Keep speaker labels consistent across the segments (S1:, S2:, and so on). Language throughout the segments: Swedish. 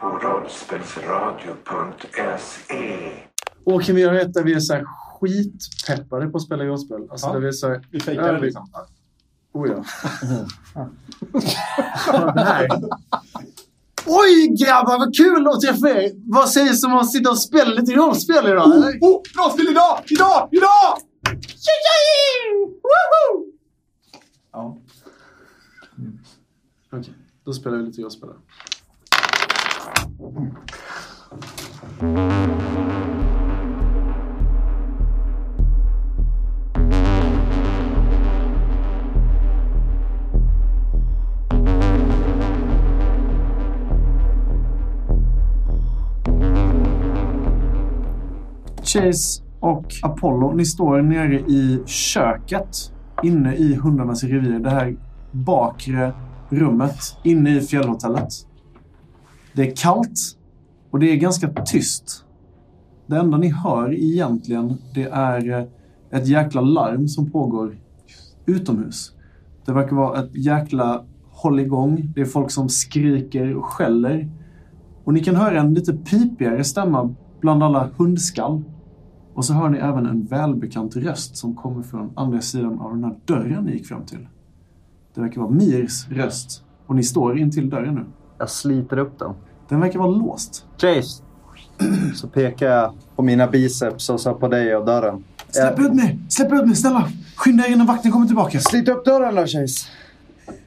S1: på
S2: E.
S1: rollspelsradio.se.
S3: Och kan vi göra ett där vi är så här skitpeppade på att spela rollspel? Alltså
S4: Ja.
S3: där vi är så här...
S4: Vi fejkar
S3: Ja,
S4: det
S3: vi-
S4: liksom.
S3: Oh ja. Ja, det här. Oj grabbar, vad kul att träffa er! Vad sägs om att sitta och spela lite rollspel idag?
S4: Oh,
S3: eller?
S4: oh, rollspel idag! Idag! Idag! Woho! Ja.
S3: Okej, då spelar vi lite rollspel. då. Chase och Apollo, ni står nere i köket inne i hundarnas revir. Det här bakre rummet inne i fjällhotellet. Det är kallt och det är ganska tyst. Det enda ni hör egentligen det är eh, ett jäkla larm som pågår utomhus. Det verkar vara ett jäkla hålligång. Det är folk som skriker och skäller. Och ni kan höra en lite pipigare stämma bland alla hundskall. Och så hör ni även en välbekant röst som kommer från andra sidan av den här dörren ni gick fram till. Det verkar vara Mirs röst. Och ni står in till dörren nu.
S5: Jag sliter upp den.
S3: Den verkar vara låst.
S5: Chase! Så pekar jag på mina biceps och så på dig och dörren.
S3: Släpp
S5: Jag-
S3: ut mig! Släpp ut mig! Snälla! Skynda er innan vakten kommer tillbaka.
S5: Slit upp dörren då Chase.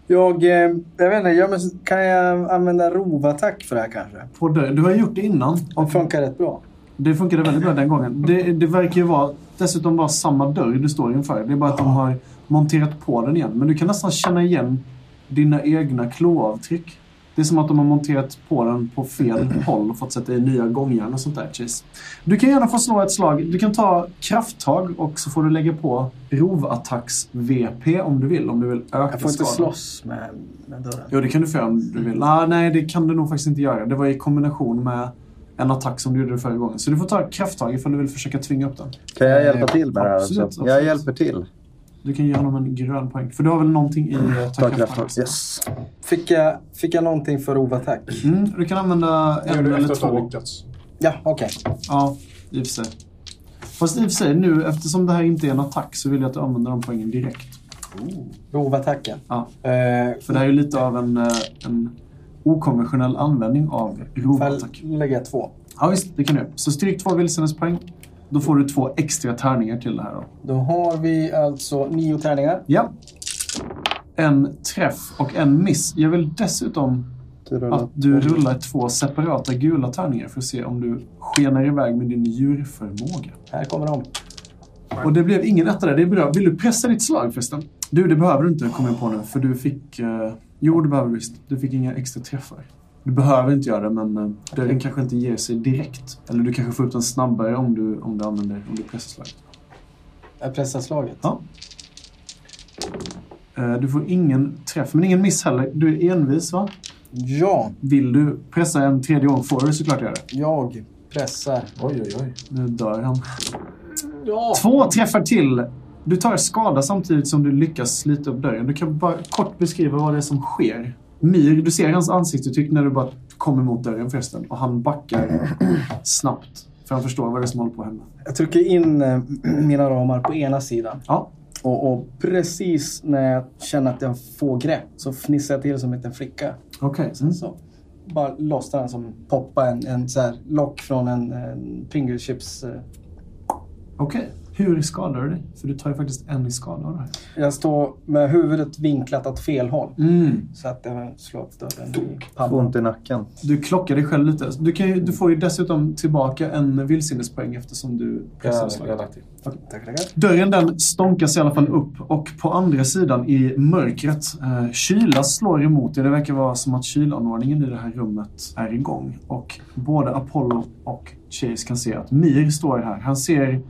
S5: Jag, eh, jag vet inte, jag, måste- kan jag använda rovattack för det här kanske?
S3: På dörren. Du har ju gjort det innan.
S5: Det funkar rätt bra.
S3: Det funkade väldigt bra den gången. Det, det verkar ju vara dessutom vara samma dörr du står inför. Det är bara att de har monterat på den igen. Men du kan nästan känna igen dina egna kloavtryck. Det är som att de har monterat på den på fel håll och fått sätta i nya gångjärn och sånt där. Chase. Du kan gärna få slå ett slag. Du kan ta krafttag och så får du lägga på rovattacks-VP om du vill. Om du vill öka
S5: Jag får inte
S3: skadan.
S5: slåss med, med dörren.
S3: Jo, det kan du få göra om du vill. Ah, nej, det kan du nog faktiskt inte göra. Det var i kombination med en attack som du gjorde förra gången. Så du får ta krafttag ifall du vill försöka tvinga upp den.
S5: Kan jag hjälpa till med det här?
S3: Absolut,
S5: också? Eh, Jag
S3: absolut.
S5: hjälper till.
S3: Du kan ge honom en grön poäng. För du har väl någonting i eh, ta
S5: Ta
S3: krafttag?
S5: krafttag. Yes. Fick jag, fick jag någonting för rovattack?
S3: Mm, du kan använda
S4: Det gör
S3: en
S4: du efter
S3: eller
S4: att du har
S3: två.
S4: lyckats.
S5: Ja, okej.
S3: Ja, i och för sig. Fast i och för sig, nu eftersom det här inte är en attack så vill jag att du använder de poängen direkt.
S5: Rovattacken.
S3: Ja,
S5: Eh,
S3: för det här är ju lite av en, eh, en okonventionell användning av
S5: fall
S3: rovattack.
S5: lägger jag två.
S3: Ja, visst, det kan du göra. Så stryk två vilsenespoäng. Då får du två extra tärningar till det här då.
S5: Då har vi alltså nio tärningar.
S3: Ja. En träff och en miss. Jag vill dessutom
S5: Du
S3: att du rullar två separata gula tärningar för att se om du skenar iväg med din djurförmåga.
S5: Här kommer de.
S3: Och det blev ingen etta där. Det är bra. Vill du pressa ditt slag förresten? Du, det behöver du inte komma på nu för du fick... Eh... Jo, det behöver du visst. Du fick inga extra träffar. Du behöver inte göra det, men eh, dörren kanske inte ger sig direkt. Eller du kanske får upp den snabbare om du, om du använder om du pressar slaget.
S5: Jag pressar slaget.
S3: Ja. Eh, Du får ingen träff, men ingen miss heller. Du är envis, va?
S5: Ja,
S3: Vill du pressa en tredje gång får du såklart göra det.
S5: jag pressar.
S4: Oj, oj, oj.
S3: Nu dör han.
S4: Ja.
S3: Två träffar till. Du tar skada samtidigt som du lyckas slita upp dörren. Du kan bara kort beskriva vad det är som sker. Myr, du ser hans ansiktsuttryck när du bara kommer mot dörren förresten. Och han backar snabbt. För han förstår vad det är som håller på att hända.
S5: Jag trycker in eh, mina ramar på ena sidan.
S3: Ja,
S5: Och, och precis när jag känner att jag får grepp så fnissar jag till som en liten flicka.
S3: okej. Mm.
S5: Så bara lossnar den som poppa en, en så här lock från en, en Pringles chips. eh.
S3: Okej. Hur skadar du dig? För du tar ju faktiskt en i skada av det här.
S5: Jag står med huvudet vinklat åt fel håll.
S3: Mm.
S5: Så att jag slår upp dörren i
S6: Får
S5: pannan.
S6: ont i nacken.
S3: Du klockar dig själv lite. Du, kan ju, du får ju dessutom tillbaka en vildsinnespoäng eftersom du pressar
S4: Jag, jag har
S3: slaget.
S4: lagt till.
S5: Tackar, tackar.
S3: Dörren den stånkas i alla fall upp och på andra sidan i mörkret eh, kyla slår emot er. Det verkar vara som att kylanordningen i det här rummet är igång. Och både Apollo och Chase kan se att Mir står här. Han ser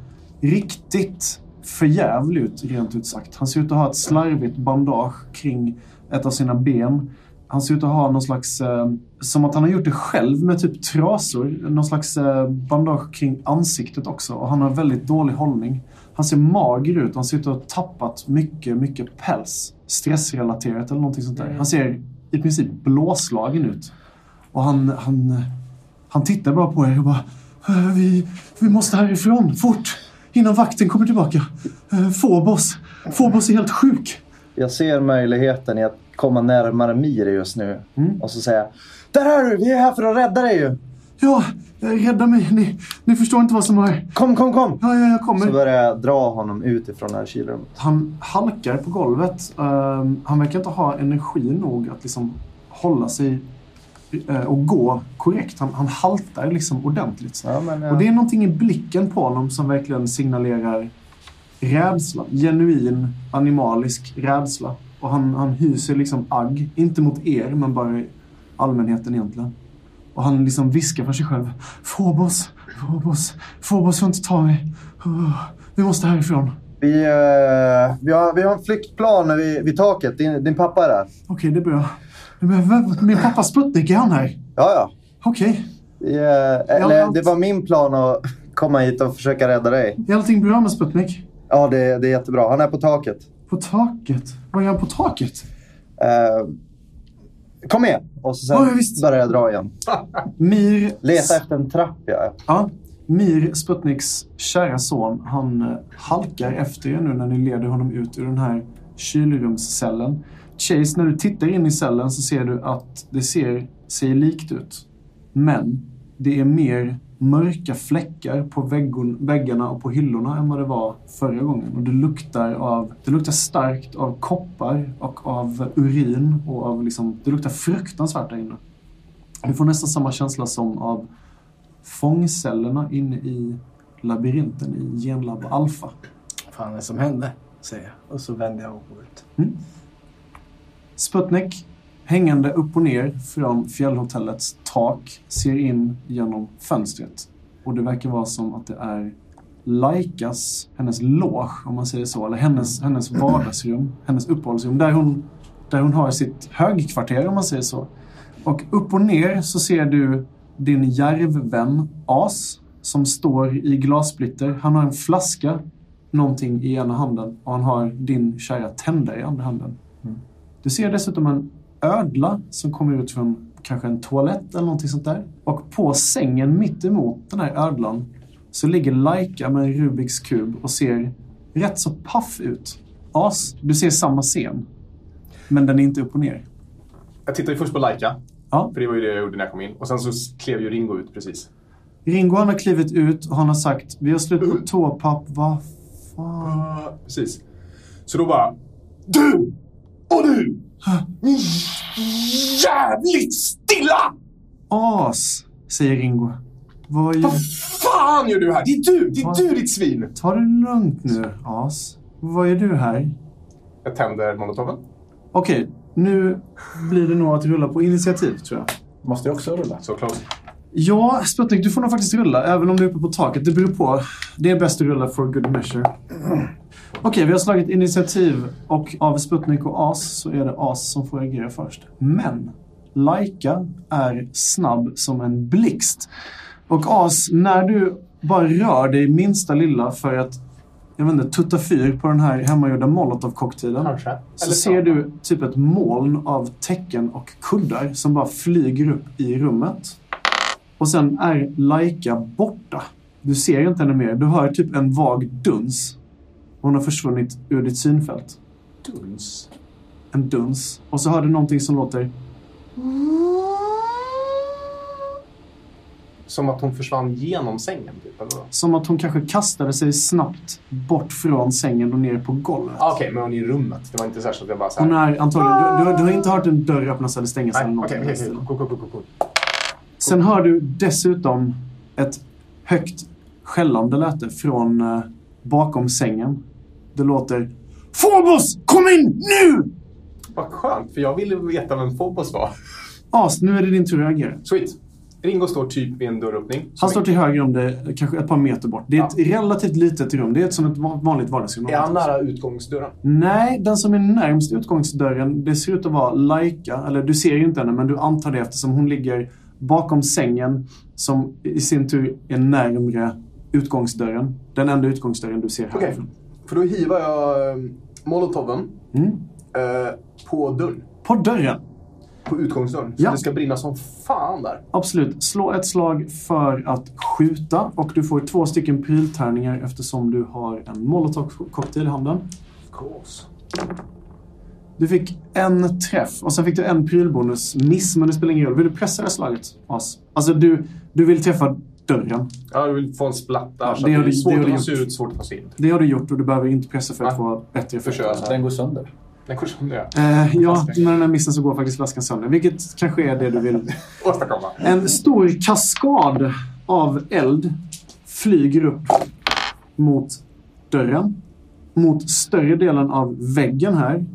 S3: riktigt förjävlig ut, rent ut sagt. Han ser ut att ha ett slarvigt bandage kring ett av sina ben. Han ser ut att ha någon slags, eh, som att han har gjort det själv med typ trasor. Någon slags eh, bandage kring ansiktet också. Och han har väldigt dålig hållning. Han ser mager ut. Han ser ut att ha tappat mycket, mycket päls. Stressrelaterat eller någonting sånt där. Han ser i princip blåslagen ut. Och han, han, han tittar bara på er och bara... "Eh, Vi, vi måste härifrån, fort! Innan vakten kommer tillbaka. Eh, Phobos. Phobos är helt sjuk.
S1: Jag ser möjligheten i att komma närmare Miri just nu.
S3: Mm.
S1: Och så säga Där är du! Vi är här för att rädda dig ju!
S3: Ja, eh, rädda mig. Ni, ni förstår inte vad som har...
S1: Kom, kom, kom!
S3: Ja, ja, jag kommer.
S1: Så börjar jag dra honom ut ifrån det här kylrummet.
S3: Han halkar på golvet. Ehm, han verkar inte ha energi nog att liksom hålla sig eh, och gå korrekt. Han, han haltar liksom ordentligt. Så. här.
S1: Ja, men,
S3: Och
S1: eh,
S3: det är någonting i blicken på honom som verkligen signalerar rädsla. Genuin, animalisk rädsla. Och han, han hyser liksom agg. Inte mot er, men bara i allmänheten egentligen. Och han liksom viskar för sig själv. Phobos, Phobos, Phobos får inte ta mig. Oh, Vi måste härifrån.
S1: vi, eh, vi, har, vi har en flyktplan vid, vid taket. Din, din pappa är där.
S3: Okej, det är bra. Men vem, min pappa Sputnik, är han här?
S1: Ja, ja.
S3: Okej,
S1: Vi, eh, eller,
S3: Ja, men-
S1: Det var min plan att komma hit och försöka rädda dig.
S3: är allting bra med Sputnik?
S1: Ja, det, det är jättebra. Han är på taket.
S3: På taket? Vad gör han på taket?
S1: Eh, kom med! Och så sen
S3: Ja, ja, visst.
S1: börjar jag dra igen.
S3: Mir...
S1: Leta efter en trapp, ja.
S3: Ja. Mir, Sputniks kära son, han eh, halkar efter er nu när ni leder honom ut ur den här kylrumscellen. Chase, när du tittar in i cellen så ser du att det ser sig likt ut. Men det är mer mörka fläckar på väggon, väggarna och på hyllorna än vad det var förra gången. Och det luktar, av, det luktar starkt av koppar och av urin och av liksom, det luktar fruktansvärt där inne. Du får nästan samma känsla som av fångcellerna inne i labyrinten i Genlab Alpha.
S5: fan är det som hände? Säger jag. Och så vänder jag om och går ut.
S3: Sputnik, hängande upp och ner från fjällhotellets tak, ser in genom fönstret. Och det verkar vara som att det är Laikas, hennes loge om man säger så, eller hennes, hennes vardagsrum, hennes uppehållsrum, där hon, där hon har sitt högkvarter om man säger så. Och upp och ner så ser du din järvvän As som står i glassplitter. Han har en flaska, någonting i ena handen och han har din kära tändare i andra handen. Du ser dessutom en ödla som kommer ut från kanske en toalett eller någonting sånt där. Och på sängen mitt emot den här ödlan så ligger Laika med en Rubiks kub och ser rätt så paff ut. As, du ser samma scen. Men den är inte upp och ner.
S4: Jag tittade ju först på Laika.
S3: Ja.
S4: För det var ju det jag gjorde när jag kom in. Och sen så klev ju Ringo ut precis.
S3: Ringo han har klivit ut och han har sagt vi har slut på toapapp, vad fan?
S4: Ah, precis. Så då bara... Du! Och du! Ni Jävligt stilla!
S3: As, säger Ringo. Vad gör...
S4: Vad fan gör du här? Det är du! Det är du ditt svin!
S3: Ta det lugnt nu, As. Vad gör du här?
S4: Jag tänder monotoven.
S3: Okej, nu blir det nog att rulla på initiativ tror jag.
S6: Måste jag också rulla?
S4: Så close.
S3: Ja, Sputnik, du får nog faktiskt rulla, även om du är uppe på taket. Det beror på. Det är bäst att rulla for good measure. Okej, vi har slagit initiativ och av Sputnik och As så är det As som får agera först. Men Laika är snabb som en blixt. Och As, när du bara rör dig minsta lilla för att jag vet inte, tutta fyr på den här hemmagjorda molotovcocktailen.
S4: Kanske.
S3: Så ser du typ ett moln av tecken och kuddar som bara flyger upp i rummet. Och sen är Laika borta. Du ser inte henne mer. Du hör typ en vag duns. Hon har försvunnit ur ditt synfält.
S4: Duns.
S3: En duns. Och så hör du någonting som låter...
S4: Som att hon försvann genom sängen typ, eller vadå?
S3: Som att hon kanske kastade sig snabbt bort från sängen och ner på golvet.
S4: Ah, Okej, men hon är i rummet. Det var inte särskilt att jag bara såhär...
S3: Hon är antagligen... Du, du, du har inte hört en dörr öppnas eller stängas eller
S4: Nej,
S3: någonting.
S4: okej,
S3: i
S4: okej,
S3: den stilen.
S4: okej. Cool, cool, cool, cool, cool.
S3: Sen hör du dessutom ett högt skällande läte från eh, bakom sängen. Det låter Phobos, kom in nu!
S4: Vad skönt, för jag ville veta vem Phobos var.
S3: As, nu är det din tur att reagera.
S4: Sweet. Ringo står typ vid en dörröppning.
S3: Han står till höger om dig, kanske ett par meter bort. Det är ett relativt litet rum. Det är ett, som ett va- vanligt vardagsrum.
S4: Är han nära utgångsdörren?
S3: Nej, den som är närmst utgångsdörren, det ser ut att vara Laika. Eller du ser ju inte henne, men du antar det eftersom hon ligger bakom sängen som i sin tur är närmre utgångsdörren. Den enda utgångsdörren du ser
S4: Okej,
S3: härifrån.
S4: för då hivar jag eh, molotoven
S3: Mm.
S4: eh, på dörren.
S3: På dörren.
S4: på utgångsdörren.
S3: Ja.
S4: Så det ska brinna som fan där.
S3: Absolut. Slå ett slag för att skjuta och du får två stycken pryltärningar eftersom du har en molotovcocktail i handen.
S4: Of course.
S3: Du fick en träff och sen fick du en prylbonus miss, men det spelar ingen roll. Vill du pressa det slaget, As? Alltså, du, du vill träffa dörren.
S4: Ja, du vill få en splatta.
S3: Ja,
S4: så
S3: det
S4: det,
S3: har
S4: det är
S3: du- det
S4: svårt
S3: har
S4: att
S3: du
S4: ta sig
S3: gjort.
S4: ut, svårt att ta sig in.
S3: Det har du gjort och du behöver inte pressa för att
S4: Ja.
S3: få bättre effekt.
S4: Försök.
S1: Den går sönder.
S4: Den går sönder.
S3: Eh, ja, med den här missen så går faktiskt flaskan sönder, vilket kanske är det du vill
S4: Åstadkomma.
S3: En stor kaskad av eld flyger upp mot dörren, mot större delen av väggen här.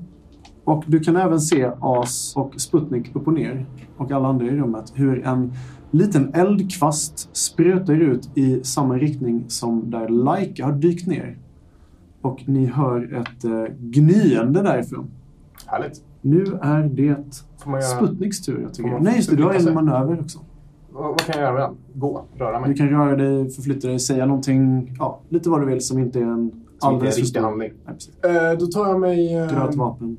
S3: Och du kan även se As och Sputnik upp och ner och alla andra i rummet hur en liten eldkvast sprutar ut i samma riktning som där Laika har dykt ner. Och ni hör ett eh, gnyende därifrån.
S4: Härligt.
S3: Nu är det
S4: Får man göra,
S3: Sputniks tur, jag tycker.
S4: Får man
S3: Nej, just det. Du har en
S4: förflytta sig?
S3: manöver också.
S4: vad, vad kan jag göra med den? Gå, röra
S3: Du
S4: mig.
S3: kan röra dig, förflytta dig, säga någonting. Ja, lite vad du vill som inte är en
S4: Som inte är en
S3: alldeles för
S4: riktig
S3: stor...
S4: handling.
S3: Nej, precis.
S4: Eh, då tar jag mig... eh,
S3: Du har ett vapen.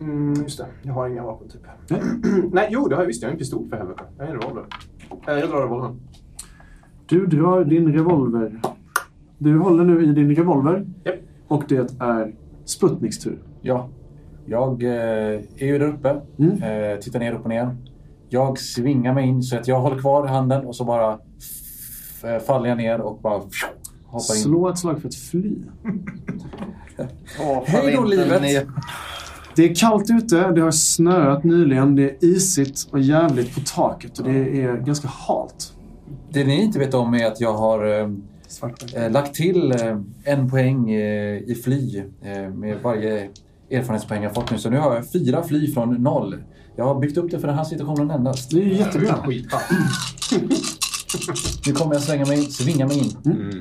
S4: Mm, just det. Jag har inga vapen, typ.
S3: Nej.
S4: Nej, jo, det har jag visst. Jag har en pistol, för helvete. Jag har en revolver. Eh, jag drar revolvern.
S3: Du drar din revolver. Du håller nu i din revolver.
S4: Japp.
S3: Och det är Sputniks tur.
S6: Ja. Jag eh, är ju där uppe.
S3: Mm.
S6: Eh, tittar ner, upp och ner. Jag svingar mig in så att jag håller kvar handen och så bara f- eh, faller jag ner och bara fju, hoppar in.
S3: Slå ett slag för att fly.
S1: Åh,
S6: Hej då, livet.
S3: Det är kallt ute, det har snöat nyligen, det är isigt och jävligt på taket och det är ganska halt.
S6: Det ni inte vet om är att jag har eh, eh, lagt till eh, en poäng eh, i fly eh, med varje erfarenhetspoäng jag fått nu. Så nu har jag fyra fly från noll. Jag har byggt upp det för den här situationen endast.
S3: Det är ju jättebra.
S4: Skitbra.
S6: Nu kommer jag svänga mig, svinga mig in.
S4: Mm.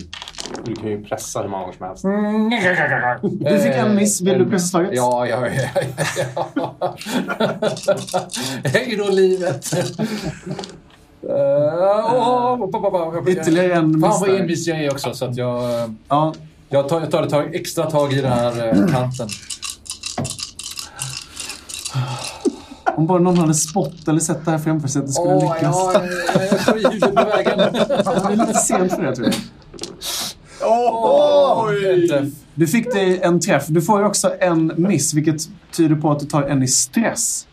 S4: Du kan ju pressa hur många gånger som helst.
S6: Eh,
S3: Du fick en miss. Vill du pressa slaget?
S6: Ja, ja, ja. ja, ja. Hej då, livet! Eh, åh, pa, pa, pa, pa.
S3: Ytterligare en miss
S6: Fan vad
S3: där.
S6: envis jag är också. Så att jag, eh,
S3: Ja,
S6: jag tar, jag tar ett tag, extra tag i den här eh, kanten.
S3: om bara någon hade spott eller sett det här framför sig att det skulle
S6: Åh, jag
S3: lyckas.
S6: har jag har slår i huvudet på vägen.
S3: Det är lite sent för det tror jag.
S6: Åh, inte.
S3: Du fick dig en träff. Du får ju också en miss, vilket tyder på att du tar en i stress.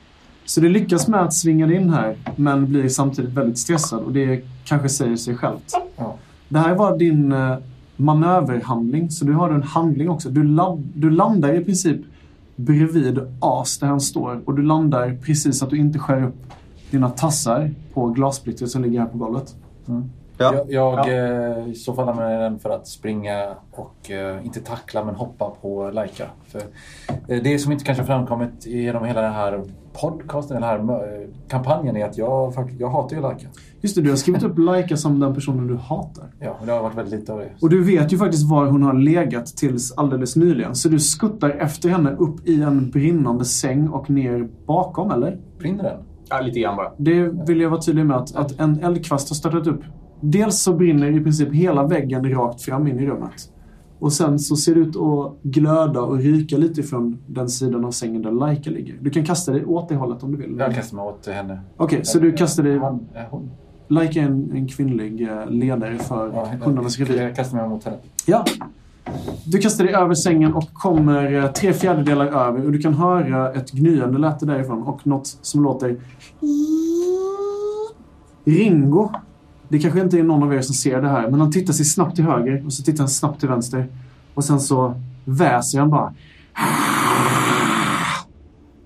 S3: Så du lyckas med att svinga dig in här, men blir samtidigt väldigt stressad. Och det kanske säger sig självt.
S6: Ja.
S3: Det här var din eh, manöverhandling, så du har en handling också. Du, la- du landar i princip bredvid As där han står. Och du landar precis så att du inte skär upp dina tassar på glassplittret som ligger här på golvet.
S1: Ja.
S6: Jag, jag eh, i så faller med den för att springa och eh, inte tackla men hoppa på Laika. För, eh, det som inte kanske framkommit genom hela den här podcasten, eller den här eh, kampanjen, är att jag, fakt- jag hatar ju Laika.
S3: Just det, du har skrivit upp Laika som den personen du hatar.
S6: Ja, och det har varit väldigt lite av det.
S3: Och du vet ju faktiskt var hon har legat tills alldeles nyligen. Så du skuttar efter henne upp i en brinnande säng och ner bakom, eller?
S6: Brinner den?
S4: Ja, lite grann bara.
S3: Det vill jag vara tydlig med, att, att en eldkvast har startat upp. Dels så brinner i princip hela väggen rakt fram in i rummet. Och sen så ser det ut att glöda och ryka lite från den sidan av sängen där Laika ligger. Du kan kasta dig åt det hållet om du vill.
S6: Jag
S3: Okej,
S6: kastar mig åt henne.
S3: så du kastar dig...
S6: Han, eh, hon.
S3: Laika är en, en kvinnlig eh, ledare för
S6: Ja,
S3: hundarnas
S6: jag,
S3: revir.
S6: jag kastar mig mot henne.
S3: Ja. Du kastar dig över sängen och kommer eh, tre fjärdedelar över och du kan höra ett gnyande läte därifrån och något som låter... Ringo. Det kanske inte är någon av er som ser det här, men han tittar sig snabbt till höger och så tittar han snabbt till vänster. Och sen så väser han bara.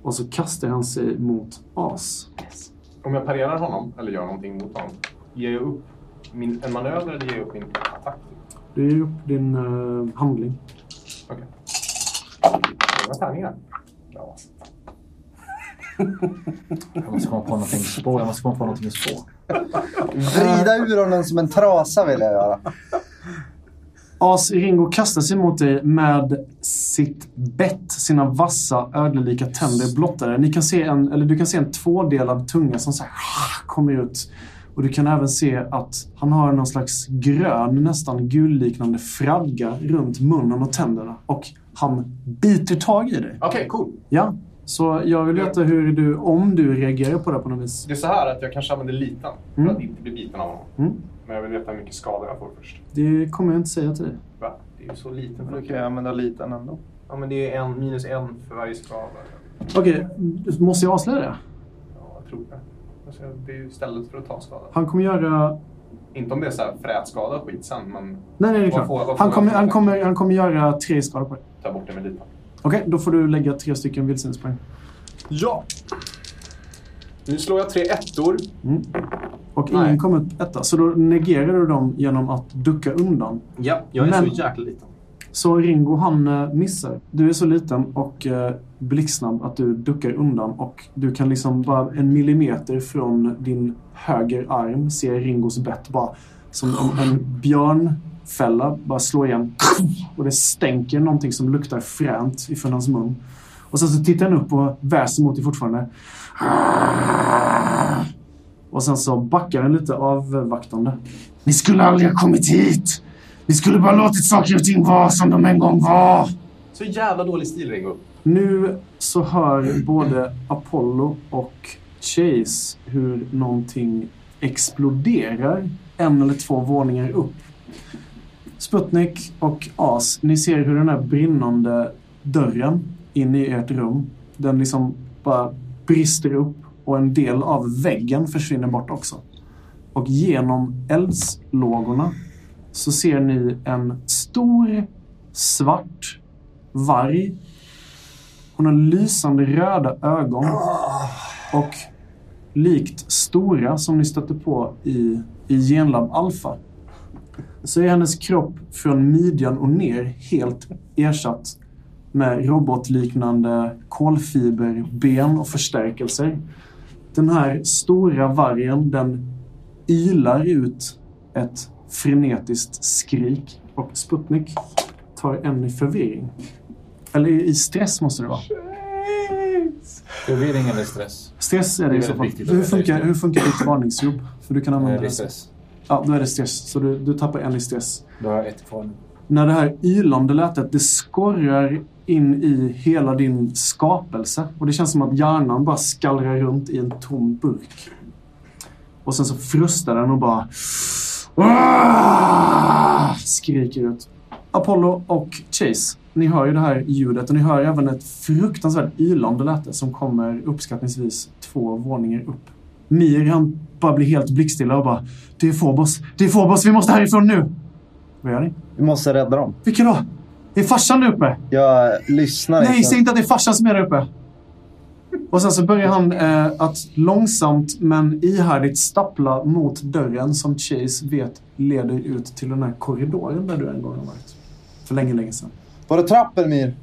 S3: Och så kastar han sig mot As.
S4: Om jag parerar honom, eller gör någonting mot honom, ger jag upp min, en manöver eller ger jag upp min attack?
S3: Du ger upp din eh, handling.
S4: Okej. Några tärningar. Ja.
S6: Jag måste komma på någonting att spå. Jag måste komma på någonting att spå.
S1: Vrida ur honom som en trasa vill jag göra.
S3: As Ringo kastar sig mot dig med sitt bett, sina vassa ödlelika tänder blottade. Ni kan se en, eller du kan se en tvådelad tunga som så här kommer ut. Och du kan även se att han har någon slags grön, nästan gulliknande fradga runt munnen och tänderna. Och han biter tag i dig.
S4: Okej, cool.
S3: Ja. Så jag vill veta hur du, om du reagerar på det på något vis.
S4: Det är så här att jag kanske använder litan för
S3: Mm.
S4: att inte bli biten av honom.
S3: Mm.
S4: Men jag vill veta hur mycket skada jag får först.
S3: Det kommer jag inte säga till dig.
S4: Va? Det är ju så liten
S1: Då kan jag använda liten ändå.
S4: Ja, men det är en, minus en för varje skada.
S3: Okej, måste jag avslöja det?
S4: Ja, jag tror det. Alltså, det är ju stället för att ta skada.
S3: Han kommer göra...
S4: Inte om det är så här frätskada och skit sen, men
S3: Nej, nej, det är
S4: Vad
S3: klart.
S4: får- vad får
S3: han,
S4: jag
S3: kommer,
S4: för
S3: han,
S4: det?
S3: kommer, han kommer göra tre skador på dig.
S4: ta bort det med litan.
S3: Okej, då får du lägga tre stycken vildsinnespoäng.
S4: Ja! Nu slår jag tre ettor.
S3: Mm. Och ingen
S4: Nej.
S3: kommer upp etta, så då negerar du dem genom att ducka undan.
S4: Ja, jag
S3: är så
S4: jäkla liten.
S3: Så Ringo han eh, missar. Du är så liten och eh, blixtsnabb att du duckar undan och du kan liksom bara en millimeter från din höger arm se Ringos bett bara som om en björnfälla bara slår igen och det stänker någonting som luktar fränt ifrån hans mun. Och sen så tittar han upp och väser mot dig fortfarande. Och sen så backar han lite avvaktande. Ni skulle aldrig ha kommit hit! Ni skulle bara låtit saker och ting vara som de en gång var!
S4: Så jävla dålig stil, Ringo.
S3: Nu så hör både Apollo och Chase hur någonting exploderar en eller två våningar upp. Sputnik och As, ni ser hur den här brinnande dörren in i ert rum, den liksom bara brister upp och en del av väggen försvinner bort också. Och genom eldslågorna så ser ni en stor svart varg hon har lysande röda ögon och likt Stora som ni stötte på i, i Genlab Alpha så är hennes kropp från midjan och ner helt ersatt med robotliknande kolfiberben och förstärkelser. Den här stora vargen den ylar ut ett frenetiskt skrik och Sputnik tar en i förvirring. Eller i i stress måste det vara.
S6: Förvirring eller stress?
S3: Stress är det,
S6: Det är
S3: i så
S6: väldigt
S3: fall.
S6: viktigt att
S3: Hur
S6: veta just
S3: funkar,
S6: det.
S3: hur funkar ditt varningsjobb? För du kan
S6: Eh,
S3: använda
S6: Det är
S3: det.
S6: stress.
S3: Ja, då är det stress. Så du, du tappar en i stress.
S6: Då har jag ett kvar nu.
S3: När det här ylande lätet, det skorrar in i hela din skapelse. Och det känns som att hjärnan bara skallrar runt i en tom burk. Och sen så frustar den och bara... "Aah!" Skriker ut. Apollo och Chase, ni hör ju det här ljudet och ni hör även ett fruktansvärt ylande läte som kommer uppskattningsvis två våningar upp. Mir han bara blir helt blickstilla och bara Det är Phobos, det är Phobos, vi måste härifrån nu! Vad gör ni?
S1: Vi måste rädda dem.
S3: Vilka då? Det är farsan där uppe!
S1: Jag lyssnar
S3: Nej,
S1: inte.
S3: säg inte att det är farsan som är där uppe! Och sen så börjar han eh, att långsamt men ihärdigt stappla mot dörren som Chase vet leder ut till den här korridoren där du en gång har varit. För länge, länge sedan.
S1: Var det trappen, Mir?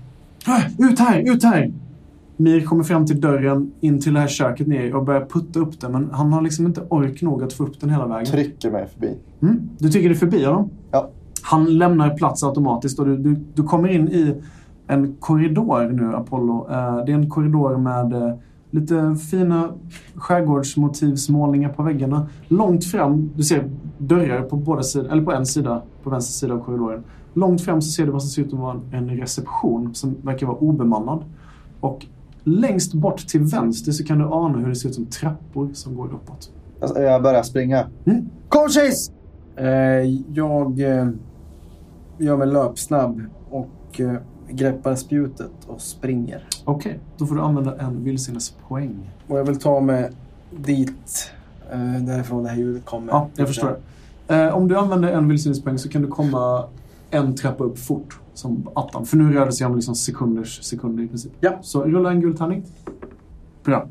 S3: Ah, Ut här, ut här! Mir kommer fram till dörren in till det här köket ner och börjar putta upp den men han har liksom inte ork nog att få upp den hela vägen.
S1: Trycker mig förbi.
S3: Mm. Du tycker du är förbi honom?
S1: Ja.
S3: Han lämnar plats automatiskt och du, du, du kommer in i en korridor nu, Apollo. Eh, det är en korridor med eh, lite fina skärgårdsmotivsmålningar på väggarna. Långt fram, du ser dörrar på båda sidor, eller på en sida, på vänster sida av korridoren. Långt fram så ser du vad som ser ut att vara en reception som verkar vara obemannad. Och längst bort till vänster så kan du ana hur det ser ut som trappor som går uppåt.
S1: Alltså, Jag börjar springa.
S3: Mm.
S1: Kom Chase!
S5: Eh, jag eh, gör mig löpsnabb och eh, greppar spjutet och springer.
S3: Okej, då får du använda en vildsinnespoäng.
S5: Och jag vill ta mig dit, eh, därifrån det här ljudet kommer.
S3: Ja, jag förstår. Eh, om du använder en vildsinnespoäng så kan du komma en trappa upp fort. Som attan. För nu rör det sig om liksom sekunders sekunder i princip.
S5: Ja.
S3: Så rulla en gul tärning. Bra.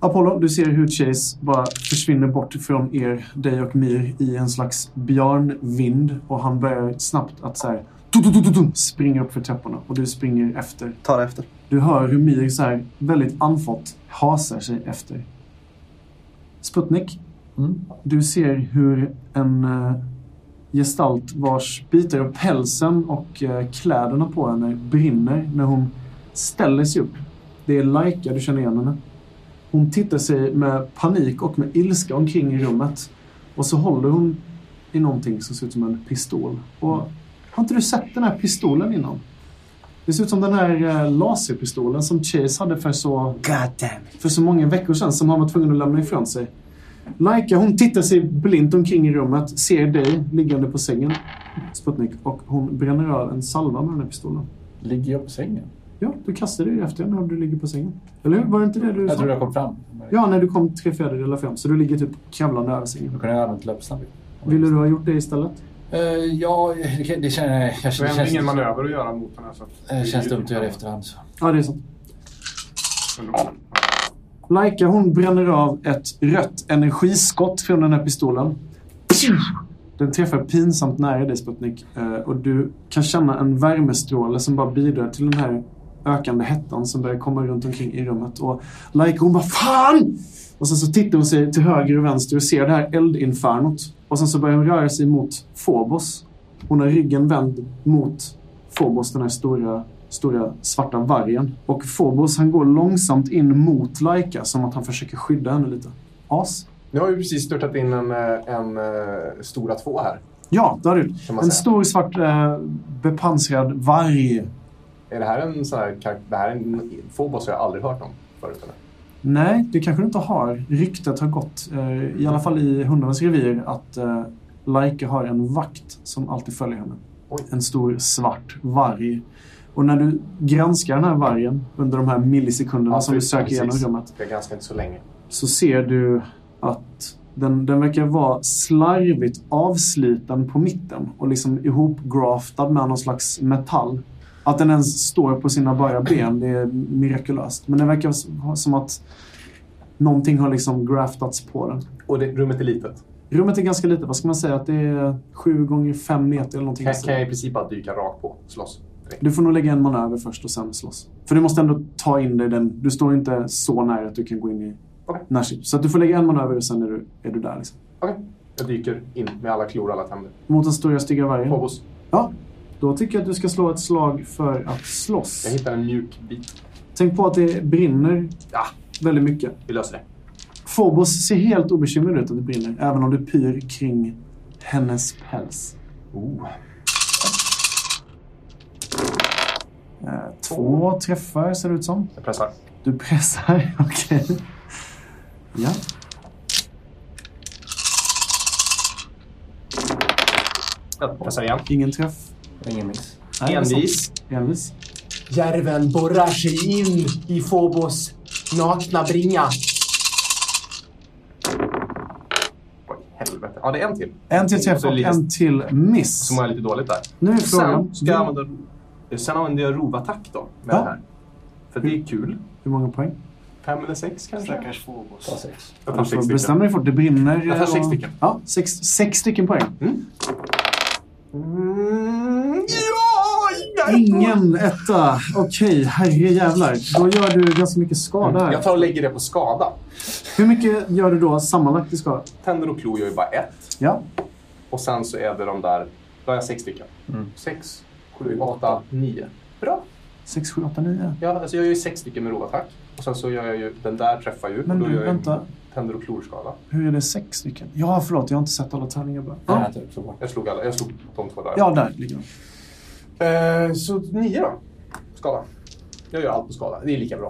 S3: Apollo, du ser hur Chase bara försvinner bort från er, dig och Mir i en slags björnvind. Och han börjar snabbt att så här, tu, tu, tu, tu, tu, springa upp för trapporna. Och du springer efter.
S1: Tar efter.
S3: Du hör hur Mir så här väldigt anfått hasar sig efter. Sputnik,
S6: Mm.
S3: du ser hur en eh, gestalt vars bitar av pälsen och eh, kläderna på henne brinner när hon ställer sig upp. Det är Laika, du känner igen henne. Hon tittar sig med panik och med ilska omkring i rummet. Och så håller hon i någonting som ser ut som en pistol. Och har inte du sett den här pistolen innan? Det ser ut som den här eh, laserpistolen som Chase hade för så,
S5: God damn it.
S3: för så många veckor sedan som han var tvungen att lämna ifrån sig. Laika hon tittar sig blint omkring i rummet, ser dig liggande på sängen, Sputnik, och hon bränner av en salva med den här pistolen.
S6: Ligger jag på sängen?
S3: Ja, du kastade dig efter när du ligger på sängen. Eller hur? Var det inte det du
S6: Jag
S3: sa?
S6: tror jag kom fram.
S3: Ja, när du kom tre fjärdedelar fram, så du ligger typ kravlande över sängen.
S6: Då kunde jag ha använt löpsnabb.
S3: Ville du ha gjort det istället?
S6: Eh, ja, det, kan- det känner jag. jag
S4: Du har
S6: känner,
S4: ändå
S6: känns,
S4: ingen manöver att göra mot den här. Så att
S6: eh, känns dumt att göra i efterhand. Så.
S3: Ja, det är sant.
S4: Förlåt.
S3: Laika hon bränner av ett rött energiskott från den här pistolen. Den träffar pinsamt nära dig Sputnik eh, och du kan känna en värmestråle som bara bidrar till den här ökande hettan som börjar komma runt omkring i rummet. Och Laika hon bara FAN! Och sen så tittar hon sig till höger och vänster och ser det här eldinfernot. Och sen så börjar hon röra sig mot Phobos. Hon har ryggen vänd mot Phobos, den här stora, stora svarta vargen. Och Phobos han går långsamt in mot Laika som att han försöker skydda henne lite. As.
S4: Nu har vi precis störtat in en, eh, en eh, stora två här.
S3: Ja, där är du.
S4: Kan man
S3: En
S4: säga.
S3: stor svart eh, bepansrad varg.
S4: Är det här en sån här karaktär? Det här är en Phobos har jag aldrig hört om förut. Eller?
S3: Nej, det kanske du inte har. Ryktet har gått, eh, i alla fall i hundarnas revir, att eh, Laika har en vakt som alltid följer henne.
S4: Oj.
S3: En stor svart varg. Och när du granskar den här vargen under de här millisekunderna
S4: Ja,
S3: som du
S4: precis,
S3: söker igenom
S4: precis.
S3: rummet
S4: Det är ganska inte så länge.
S3: så ser du att den, den verkar vara slarvigt avsliten på mitten och liksom ihopgraftad med någon slags metall. Att den ens står på sina bara ben, det är mirakulöst. Men det verkar s- ha- som att någonting har liksom graftats på den.
S4: Och det, rummet är litet.
S3: Rummet är ganska litet. Vad ska man säga? Att det är sju gånger fem meter eller någonting.
S4: Kan, kan jag i princip bara dyka rakt på och slåss? direkt?
S3: Du får nog lägga en manöver först och sen slåss. För du måste ändå ta in dig den. Du står inte så nära att du kan gå in i
S4: Okej.
S3: närstrid. Så att du får lägga en manöver och sen är du, är du där. Liksom.
S4: Okej. Jag dyker in med alla klor och alla tänder.
S3: Mot den stora stygga vargen?
S4: Phobos.
S3: Ja. Då tycker jag att du ska slå ett slag för att slåss.
S4: Jag hittar en mjuk bit.
S3: Tänk på att det brinner
S4: Ja,
S3: väldigt mycket.
S4: vi löser det.
S3: Phobos ser helt obekymrad ut att det brinner, även om det pyr kring hennes päls.
S4: Oh.
S3: Eh, Två träffar ser det ut som.
S4: Jag pressar.
S3: Du pressar, okej. Ja.
S4: Jag pressar igen.
S3: Ingen träff.
S6: Ingen miss.
S3: Nej,
S7: Envis.
S3: Envis.
S7: Järven borrar sig in i Phobos nakna bringa.
S4: Oj, helvete. Ja, det är en till.
S3: En till träff
S4: Så
S3: och
S4: lite-
S3: en till miss.
S4: Så mår jag lite dåligt där.
S3: Nu är frågan,
S4: Sen ska jag använda... Sen använder jag rovattack då, med
S3: Ja.
S4: det här. För det är kul.
S3: hur många poäng?
S4: Fem eller sex kanske?
S5: Stackars Phobos.
S6: Ta sex.
S4: Jag tar
S3: Du
S4: sex
S3: får
S4: stycken.
S3: bestämma dig Alltså, fort. Det brinner.
S4: Jag tar sex
S3: och-
S4: stycken.
S3: Ja, sex, sex stycken poäng.
S4: Mm, ja!
S3: Ingen etta. Okej, herrejävlar. Då gör du ganska mycket skada här.
S4: Jag tar och lägger det på skada.
S3: Hur mycket gör du då sammanlagt i skada?
S4: Tänder och klor gör ju bara ett.
S3: Ja.
S4: Och sen så är det de där... Då har jag sex stycken.
S6: Mm.
S4: Sex, sju, åtta, nio. Bra!
S3: 6, 7, 8, 9.
S4: Ja, alltså jag gör ju sex stycken med rovattack. Och sen så gör jag ju... Den där träffar ju.
S3: Men
S4: och då
S3: du,
S4: gör jag ju
S3: vänta.
S4: tänder och klorskada.
S3: Hur är det sex stycken? Ja, förlåt. Jag har inte sett alla tärningar bara.
S6: Den
S3: Ja,
S6: här tar jag också bort.
S4: Jag slog, alla, jag slog de två där.
S3: ja där ligger de.
S4: Eh, så nio då. Skada. Jag gör allt på skada. Det är lika
S3: Eh.
S4: bra.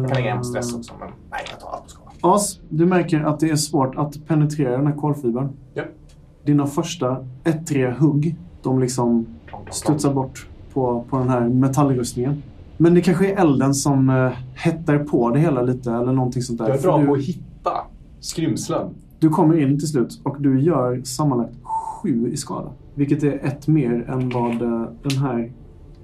S4: Jag kan lägga hem stress också, men nej, jag tar allt på skada.
S3: As, du märker att det är svårt att penetrera den här kolfibern.
S4: Ja.
S3: Dina första ettriga hugg, de liksom studsar bort på, på den här metallrustningen. Men det kanske är elden som eh, hettar på det hela lite eller någonting sånt där.
S4: Jag är
S3: För
S4: bra
S3: du-
S4: på att hitta skrymslen.
S3: Du kommer in till slut och du gör sammanlagt sju i skada. Vilket är ett mer än vad eh, den här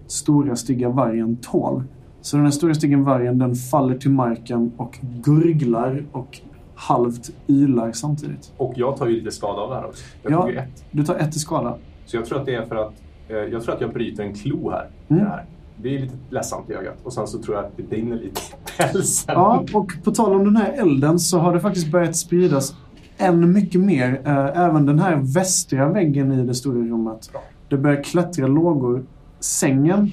S3: stora stygga vargen tål. Så den här stora stygga vargen den faller till marken och gurglar och halvt ylar samtidigt.
S4: Och jag tar ju lite skada av det här också. Jag
S3: Ja.
S4: tog ju ett.
S3: Du tar ett i skada.
S4: Så jag tror att det är för att eh, jag tror att jag bryter en klo här.
S3: Mm.
S4: Det, här. det är lite ledsamt i ögat. Och sen så tror jag att det brinner lite i pälsen.
S3: Ja, och på tal om den här elden så har det faktiskt börjat spridas än mycket mer. eh, Även den här västra väggen i det stora rummet. Det börjar klättra lågor. Sängen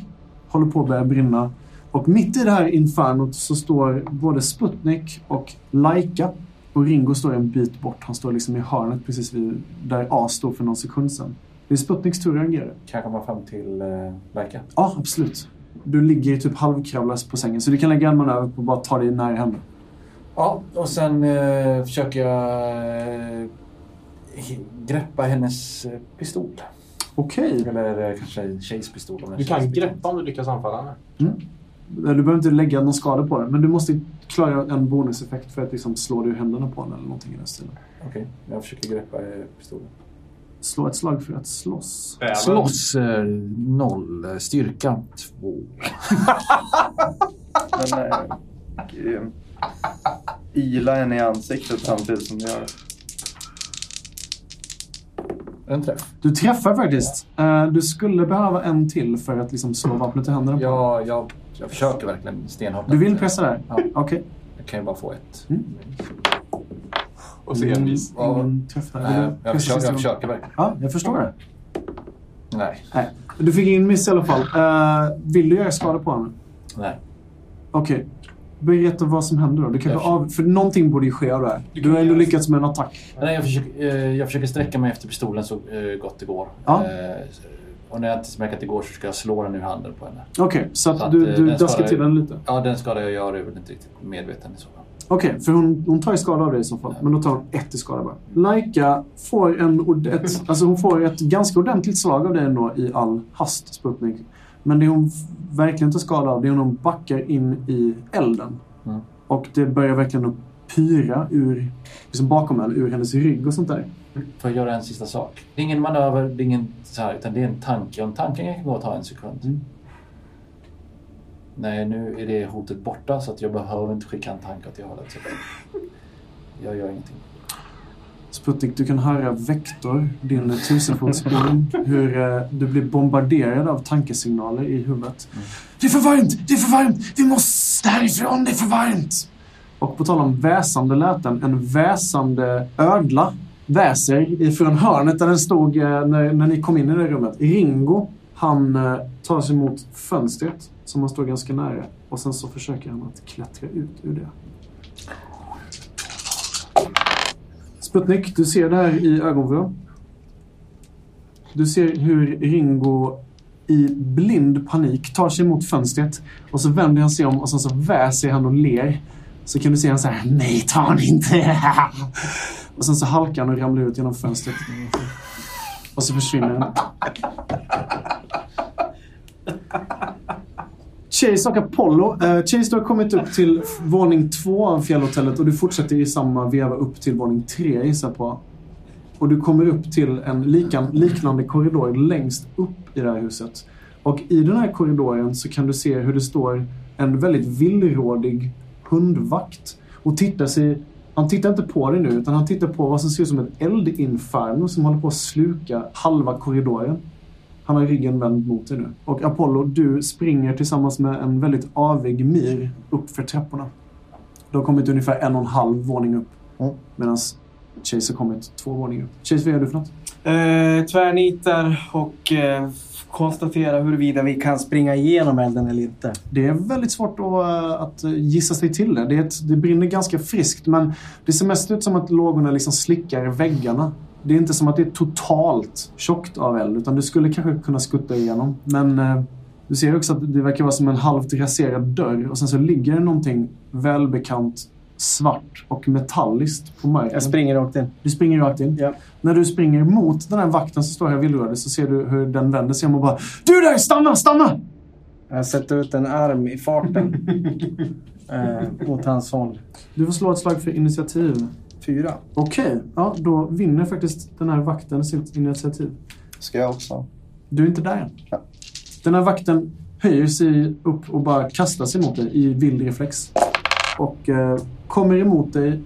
S3: håller på att börja brinna. Och mitt i det här infernot så står både Sputnik och Laika. Och Ringo står en bit bort. Han står liksom i hörnet precis vid där A stod för någon sekund sedan. Det är Sputniks tur att reagera.
S6: Kan jag komma fram till eh, Laika?
S3: Ja, absolut. Du ligger typ halvkravlas på sängen, så du kan lägga en man över på och bara ta dig nära henne.
S6: Ja, och sen eh, försöker jag eh, he- greppa hennes eh, pistol.
S3: Okej.
S6: Eller eh, kanske tjejs pistol. om det
S4: Du
S6: är
S4: kan
S6: tjejs pistol.
S4: greppa om du lyckas anfalla henne.
S3: Du behöver inte lägga någon skada på den, men du måste klara en bonuseffekt för att liksom slå dig i händerna på henne eller någonting i den stilen.
S6: Okej, jag försöker greppa eh, pistolen.
S3: Slå ett slag för att slåss.
S4: Bäven.
S6: Slåss eh, noll, eh, styrka två.
S1: Den är grym. eh, Ila henne i ansiktet samtidigt som du gör det.
S6: En träff.
S3: Du träffar faktiskt. Eh, Du skulle behöva en till för att liksom slå vapnet i händerna på
S6: Ja, jag, jag försöker verkligen stenhårt.
S3: Du vill pressa där?
S6: Ja.
S3: Okej.
S6: Jag kan ju bara få ett.
S3: Mm.
S4: Och så envis.
S6: Ja.
S3: Ingen träff där. Vill du
S6: Nej, Eh, jag,
S3: pressa
S6: försöker,
S3: sista
S6: jag
S3: gången?
S6: försöker verkligen.
S3: Ja, jag förstår det.
S6: Nej.
S3: Nej. Du fick ingen miss i alla fall. Eh, vill du göra skada på henne?
S6: Nej.
S3: Okej. Berätta vad som händer då. Du kanske
S6: Jag-
S3: av, för någonting borde ju ske av det här. Du har ändå lyckats med en attack.
S6: Nej, jag, försöker, eh, jag försöker sträcka mig efter pistolen så eh, gott det går.
S3: Ja.
S6: Eh, och när jag inte märker att det går så ska jag slå den ur handen på henne.
S3: Okej, så
S6: Så
S3: att
S6: att,
S3: du,
S6: eh,
S3: du
S6: den
S3: daskar
S6: skadar
S3: till
S6: ju-
S3: den lite.
S6: Ja, den skada jag gör är väl inte riktigt medveten i så fall.
S3: Okej, för hon, hon tar ju skada av dig i så fall. Men då tar hon ett i skada bara. Laika får, en, ord- ett, alltså hon får ett ganska ordentligt slag av dig ändå i all hast, Sputnik. Men det hon f- verkligen tar skada av det är när hon backar in i elden.
S6: Mm.
S3: Och det börjar verkligen att pyra ur, liksom bakom henne, ur hennes rygg och sånt där.
S6: Får jag göra en sista sak? Det är ingen manöver, det är ingen så här, utan det är en tanke. Om tanken kan gå och ta en sekund.
S3: Mm.
S6: Nej, nu är det hotet borta så att jag behöver inte skicka en tanke åt det hållet. Så jag gör ingenting.
S3: Sputnik, du kan höra Vektor, din tusenfotsspion, hur eh, du blir bombarderad av tankesignaler i huvudet. Det är för varmt! Det är för varmt! Vi måste härifrån! Det är för varmt! Och på tal om väsande läten, en väsande ödla väser ifrån hörnet där den stod eh, när, när ni kom in i det rummet. Ringo, han eh, tar sig mot fönstret som han står ganska nära och sen så försöker han att klättra ut ur det. Sputnik, du ser det här i ögonvrån. Du ser hur Ringo i blind panik tar sig mot fönstret och så vänder han sig om och sen så väser han och ler. Så kan du se han så här, nej ta han inte! Och sen så halkar han och ramlar ut genom fönstret. Och så försvinner han. Chase och Apollo. Eh, Chase, du har kommit upp till f- våning två av fjällhotellet och du fortsätter i samma veva upp till våning tre gissar jag på. Och du kommer upp till en likan, liknande korridor längst upp i det här huset. Och i den här korridoren så kan du se hur det står en väldigt villrådig hundvakt och tittar sig han tittar inte på dig nu, utan han tittar på vad som ser ut som ett eldinferno som håller på att sluka halva korridoren. Han har ryggen vänd mot dig nu. Och Apollo, du springer tillsammans med en väldigt avig myr upp för trapporna. Du har kommit ungefär en och en halv våning upp.
S1: Mm.
S3: Medan Chase har kommit två våningar upp. Chase, vad gör du för något?
S5: Eh, tvärnitar och eh, konstatera huruvida vi kan springa igenom elden eller inte.
S3: Det är väldigt svårt att, eh, att eh, gissa sig till det. Det, är ett, det brinner ganska friskt men det ser mest ut som att lågorna liksom slickar i väggarna. Det är inte som att det är totalt tjockt av eld utan du skulle kanske kunna skutta igenom. Men eh, du ser också att det verkar vara som en halvt raserad dörr och sen så ligger det någonting välbekant svart och metalliskt på marken.
S5: Jag springer rakt in.
S3: Du springer rakt in.
S5: Ja.
S3: När du springer mot den här vakten som står här villrödig så ser du hur den vänder sig om och bara Du där! Stanna! Stanna!
S5: Jag sätter ut en arm i farten. eh, åt hans håll.
S3: Du får slå ett slag för initiativ.
S5: Fyra.
S3: Okej, ja, då vinner faktiskt den här vakten sitt initiativ.
S1: Ska jag också?
S3: Du är inte där än.
S1: Ja.
S3: Den här vakten höjer sig upp och bara kastar sig mot dig i vild reflex. Och eh, kommer emot dig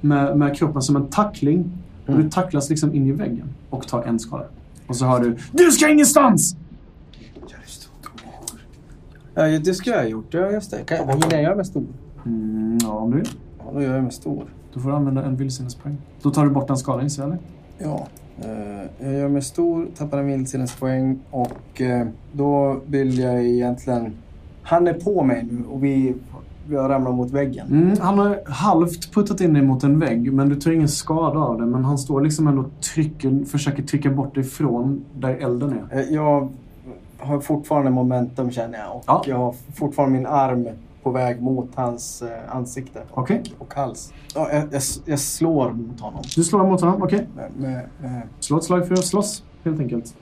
S3: med, med kroppen som en tackling. Och du tacklas liksom in i väggen och tar en skada. Och så hör du Du ska ingenstans!
S5: Ja, ju- det skulle jag ha gjort. Ja, just det. Kan, hinner jag göra mig stor?
S3: Mm, ja, om du vill.
S5: Ja, då gör jag mig stor.
S3: Då får du använda en vildsinnespoäng. Då tar du bort den skadan gissar jag, eller?
S5: Ja. Eh, jag gör mig stor, tappar en vildsinnespoäng och eh, då vill jag egentligen... Han är på mig nu och vi, vi har ramlat mot väggen.
S3: Mm, han har halvt puttat in dig mot en vägg, men du tar ingen skada av det. Men han står liksom ändå och trycker, försöker trycka bort dig från där elden är.
S5: Eh, Jag har fortfarande momentum känner jag. Och
S3: Ja.
S5: jag har fortfarande min arm på väg mot hans eh, ansikte och,
S3: Okej.
S5: och hals. Ja, jag, jag, jag slår mot honom. Eh,
S3: Du slår mot honom. Okej.
S5: Med, med, med.
S3: Slå ett slag för att slåss, helt enkelt.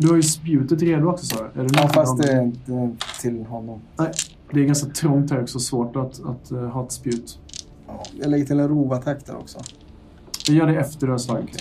S3: Du har ju spjutet redo också, sa du. Är det
S5: Ja,
S3: något du
S5: fast det
S3: har-
S5: är inte till honom.
S3: Nej, det är ganska trångt här också. Svårt att, att eh, ha ett spjut.
S5: Ja. Jag lägger till en rovattack där också.
S3: Jag gör det efter du har slagit.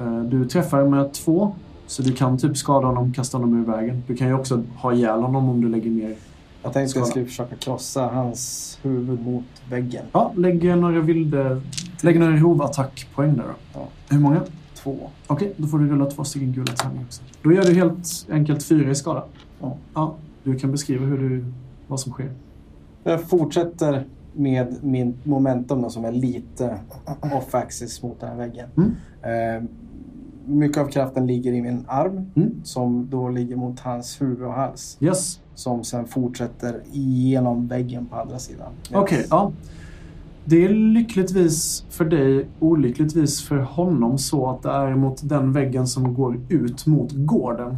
S3: Eh, Du träffar med två, så du kan typ skada honom, kasta honom ur vägen. Du kan ju också ha ihjäl honom om du lägger ner.
S5: Jag tänkte att jag
S3: Skada.
S5: skulle försöka krossa hans huvud mot väggen.
S3: Ja, lägg några vilde... Lägg några rovattackpoäng där då.
S5: Ja.
S3: Hur många?
S5: Två.
S3: Okej, då får du rulla två stycken gula tärningar också. Då gör du helt enkelt fyra i skada.
S5: Ja.
S3: ja. Du kan beskriva hur du, vad som sker.
S5: Jag fortsätter med min momentum då, som är lite off axis mot den här väggen.
S3: Mm.
S5: Eh, mycket av kraften ligger i min arm
S3: Mm.
S5: som då ligger mot hans huvud och hals.
S3: Yes.
S5: Som sen fortsätter igenom väggen på andra sidan.
S3: Okej, ja. Det är lyckligtvis för dig, olyckligtvis för honom, så att det är mot den väggen som går ut mot gården.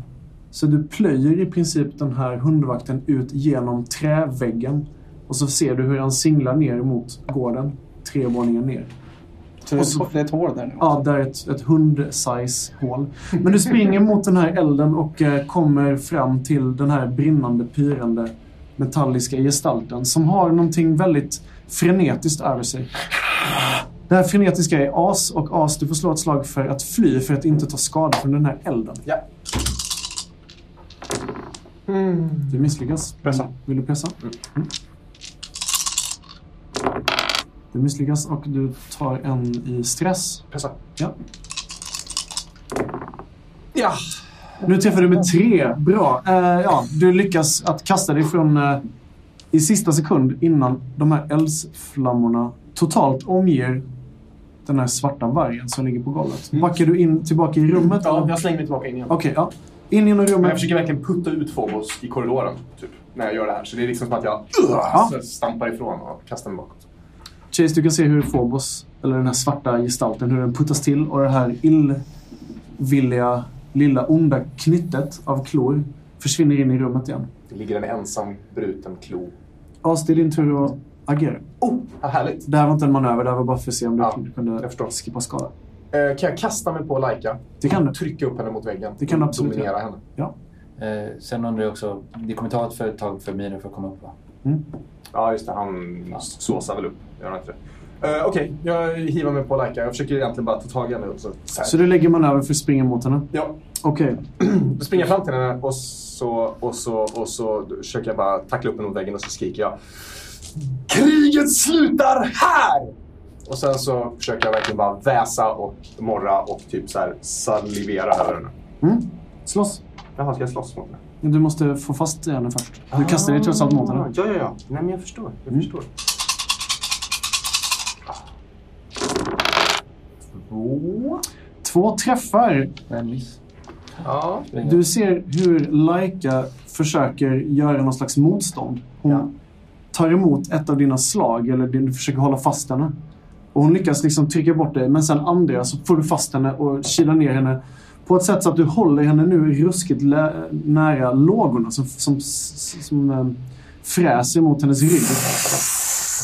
S3: Så du plöjer i princip den här hundvakten ut genom träväggen och så ser du hur han singlar ner mot gården, tre våningar ner.
S5: Så det är, det är ett hål där nu?
S3: Ja, där är ett, ett hund-size hål. Men du springer mot den här elden och eh, kommer fram till den här brinnande, pyrande metalliska gestalten som har någonting väldigt frenetiskt över sig. Det här frenetiska är as och as, du får slå ett slag för att fly för att inte ta skada från den här elden.
S4: Ja.
S3: Du misslyckas.
S4: Pressa.
S3: Vill du pressa? Mm. Du misslyckas och du tar en i stress.
S4: Pressa.
S3: Ja.
S4: Ja!
S3: Nu träffar du med tre. Bra. Eh, ja, du lyckas att kasta dig från eh, i sista sekund innan de här eldsflammorna totalt omger den här svarta vargen som ligger på golvet. Backar du in tillbaka i rummet?
S4: Mm. ja
S3: eller?
S4: jag slänger mig tillbaka in igen.
S3: Okej, ja. In genom
S4: Men jag
S3: rummet.
S4: försöker verkligen putta ut Phobos i korridoren, typ. När jag gör det här. Så det är liksom som att jag
S3: Ja.
S4: så jag stampar ifrån och kastar mig bakåt.
S3: Chase, du kan se hur Phobos, eller den här svarta gestalten, hur den puttas till och det här illvilliga, lilla onda knyttet av klor försvinner in i rummet igen.
S4: Det ligger en ensam bruten klo.
S3: As, Alltså, det är din tur att agera.
S4: Oh, vad härligt!
S3: Det här var inte en manöver, det här var bara för att se om du
S4: Ja,
S3: kunde
S4: jag förstår.
S3: skippa skada.
S4: Eh, kan jag kasta mig på Laika?
S3: Det kan du.
S4: Trycka upp henne mot väggen?
S3: Det kan du absolut
S4: Dominera
S3: göra.
S4: henne?
S3: Ja.
S6: Eh, sen undrar jag också, det kommer ta ett företag för Mire för att komma upp va?
S4: Ja, just det. Han såsar väl upp. Gör han inte det? Eh, Okej, jag hivar mig på Laika. Jag försöker egentligen bara ta tag i henne. Och så, så här.
S3: Så du lägger manöver för att springa mot henne?
S4: Ja,
S3: Okej.
S4: då springer jag fram till henne och så, och så, och så försöker jag bara tackla upp henne mot väggen och så skriker jag Kriget slutar här! Och sen så försöker jag verkligen bara väsa och morra och typ så här salivera över henne.
S3: Mm. Slåss.
S4: Jaha, ska jag slåss mot henne?
S3: Men Du måste få fast henne först. Du kastar dig trots allt mot Mm. henne.
S4: Ja, ja, ja. Nej, men jag förstår. Jag förstår. Två.
S3: Två träffar.
S6: En miss.
S4: Ja.
S3: Du ser hur Laika försöker göra någon slags motstånd. Hon tar emot ett av dina slag, eller din- du försöker hålla fast henne. Och hon lyckas liksom trycka bort dig, men sen andra så får du fast henne och kilar ner henne. På ett sätt så att du håller henne nu ruskigt lä- nära lågorna som, som, som, eh, fräser mot hennes rygg.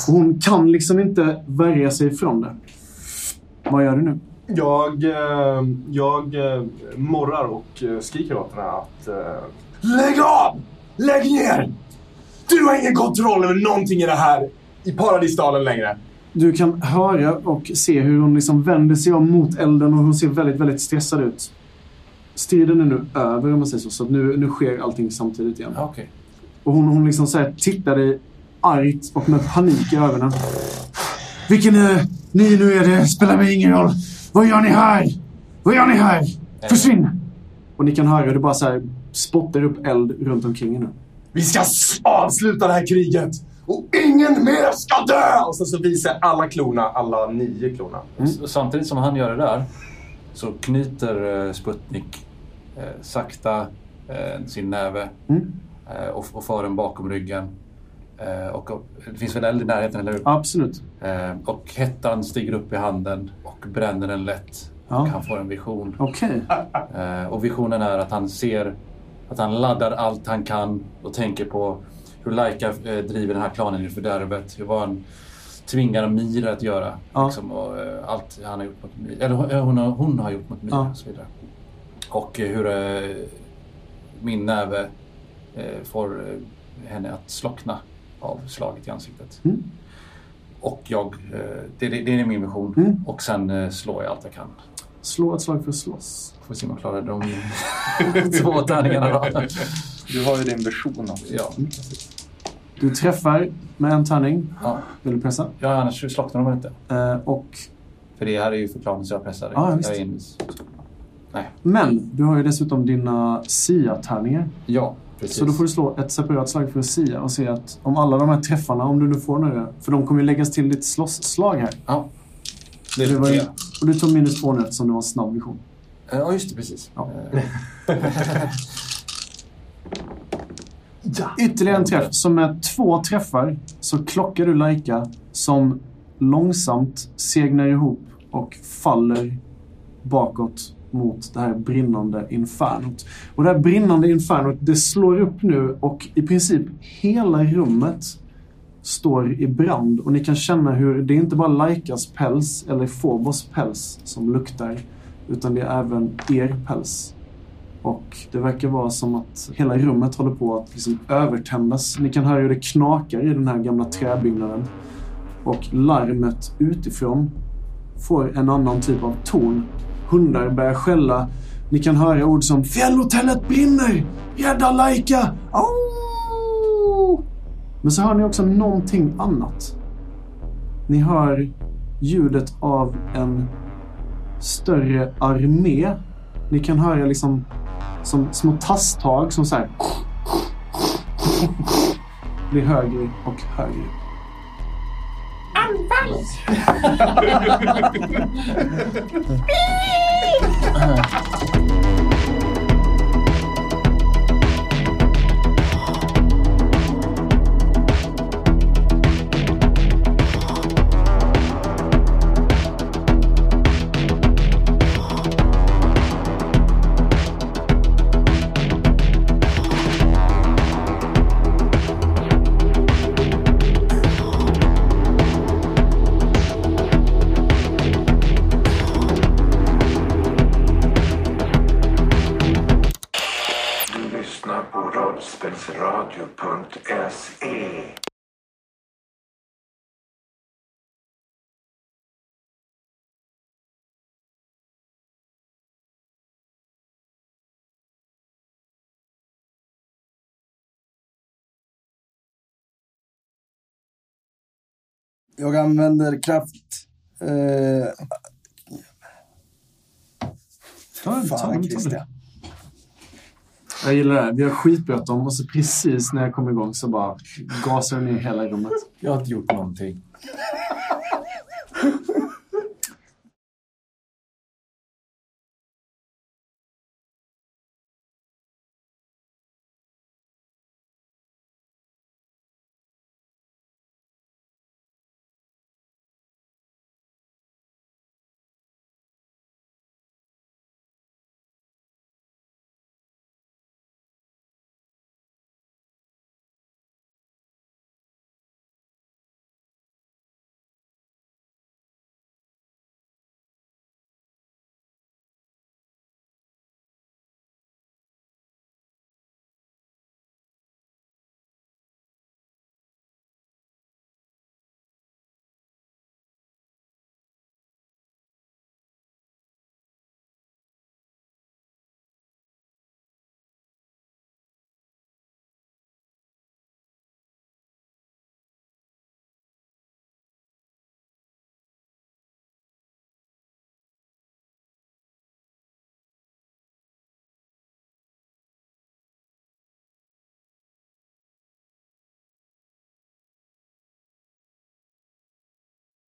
S3: Och hon kan liksom inte värja sig ifrån det. Vad gör du nu?
S4: Jag, eh, jag eh, morrar och eh, skriker åt henne att... Eh, Lägg av! Lägg ner! Du har ingen kontroll över någonting i det här i paradisdalen längre.
S3: Du kan höra och se hur hon liksom vänder sig om mot elden och hon ser väldigt, väldigt stressad ut. Striden är nu över om man säger så, så att nu, nu sker allting samtidigt igen.
S6: Ja, okej.
S3: Och hon, hon liksom så här tittar dig argt och med panik i ögonen. Vilken eh, ni nu är det spelar mig ingen roll. Vad gör ni här? Vad gör ni här? Försvinn! Och ni kan höra hur det bara så här spottar upp eld runt omkring er nu.
S4: Vi ska s- avsluta det här kriget! Och ingen mer ska dö! Och sen så visar jag alla klorna, alla nio klorna.
S6: S- Samtidigt som han gör det där så knyter eh, Sputnik eh, sakta eh, sin näve
S3: Mm.
S6: eh, och, och för den bakom ryggen. Eh, och, och, det finns väl eld i närheten, eller hur?
S3: Absolut.
S6: Eh, och hettan stiger upp i handen och bränner den lätt.
S3: Ja.
S6: och han får en vision.
S3: Okej.
S6: Eh, Och visionen är att han ser att han laddar allt han kan och tänker på hur Laika eh, driver den här planen i fördärvet. Hur vad han tvingar Mir att göra.
S3: Ja.
S6: Liksom, och, eh, allt han har gjort mot Mir. Eller hon- eh, hon, har- hon har gjort mot Mir
S3: Ja.
S6: och så vidare. Och eh, hur eh, min näve eh, får eh, henne att slockna av slaget i ansiktet.
S3: Mm.
S6: Och jag, eh, det, det, det är min vision.
S3: Mm.
S6: Och sen eh, slår jag allt jag kan.
S3: Slå ett slag för att slåss.
S6: Får se om jag klarar de två tärningarna då.
S1: Du har ju din vision. också.
S6: Ja,
S3: Du träffar med en tärning.
S6: ja.
S3: Vill du pressa?
S6: ja annars slocknar de väl inte.
S3: Eh, och,
S6: För det här är ju förklaringen så jag pressar.
S3: Ja, visst.
S6: jag är envis.
S3: men du har ju dessutom dina SIA-tärningar.
S6: Ja, precis.
S3: Så då får du slå ett separat slag för att SIA och se att om alla de här träffarna, om du nu får några, för de kommer ju läggas till ditt slåsslag här.
S6: Ja, det
S3: Det
S6: är
S3: var ju,
S6: det.
S3: och du tar minus två nu eftersom du har en snabb vision.
S6: Ja, just det. Precis.
S3: Ja.
S6: Eh,
S3: Ytterligare en träff. Så med två träffar så klockar du Laika som långsamt segnar ihop och faller bakåt mot det här brinnande infernot. Och det här brinnande infernot, det slår upp nu och i princip hela rummet står i brand och ni kan känna hur det är inte bara Laikas päls eller Phobos päls som luktar utan det är även er päls. Och det verkar vara som att hela rummet håller på att liksom övertändas. Ni kan höra hur det knakar i den här gamla träbyggnaden. Och larmet utifrån får en annan typ av ton. Hundar börjar skälla. Ni kan höra ord som “Fjällhotellet brinner! Rädda Laika! Au!” Men så hör ni också någonting annat. Ni hör ljudet av en större armé. Ni kan höra liksom som små tasstag som så här blir högre och högre.
S2: Du lyssnar på rollspelsradio.se
S5: Jag använder kraft... Eh,
S3: Ta, ta, ta, ta,
S5: fan, Christian.
S3: Jag gillar det. här. Vi har skitbråttom och så precis när jag kom igång så bara gasar den ner hela rummet.
S6: jag har inte gjort någonting.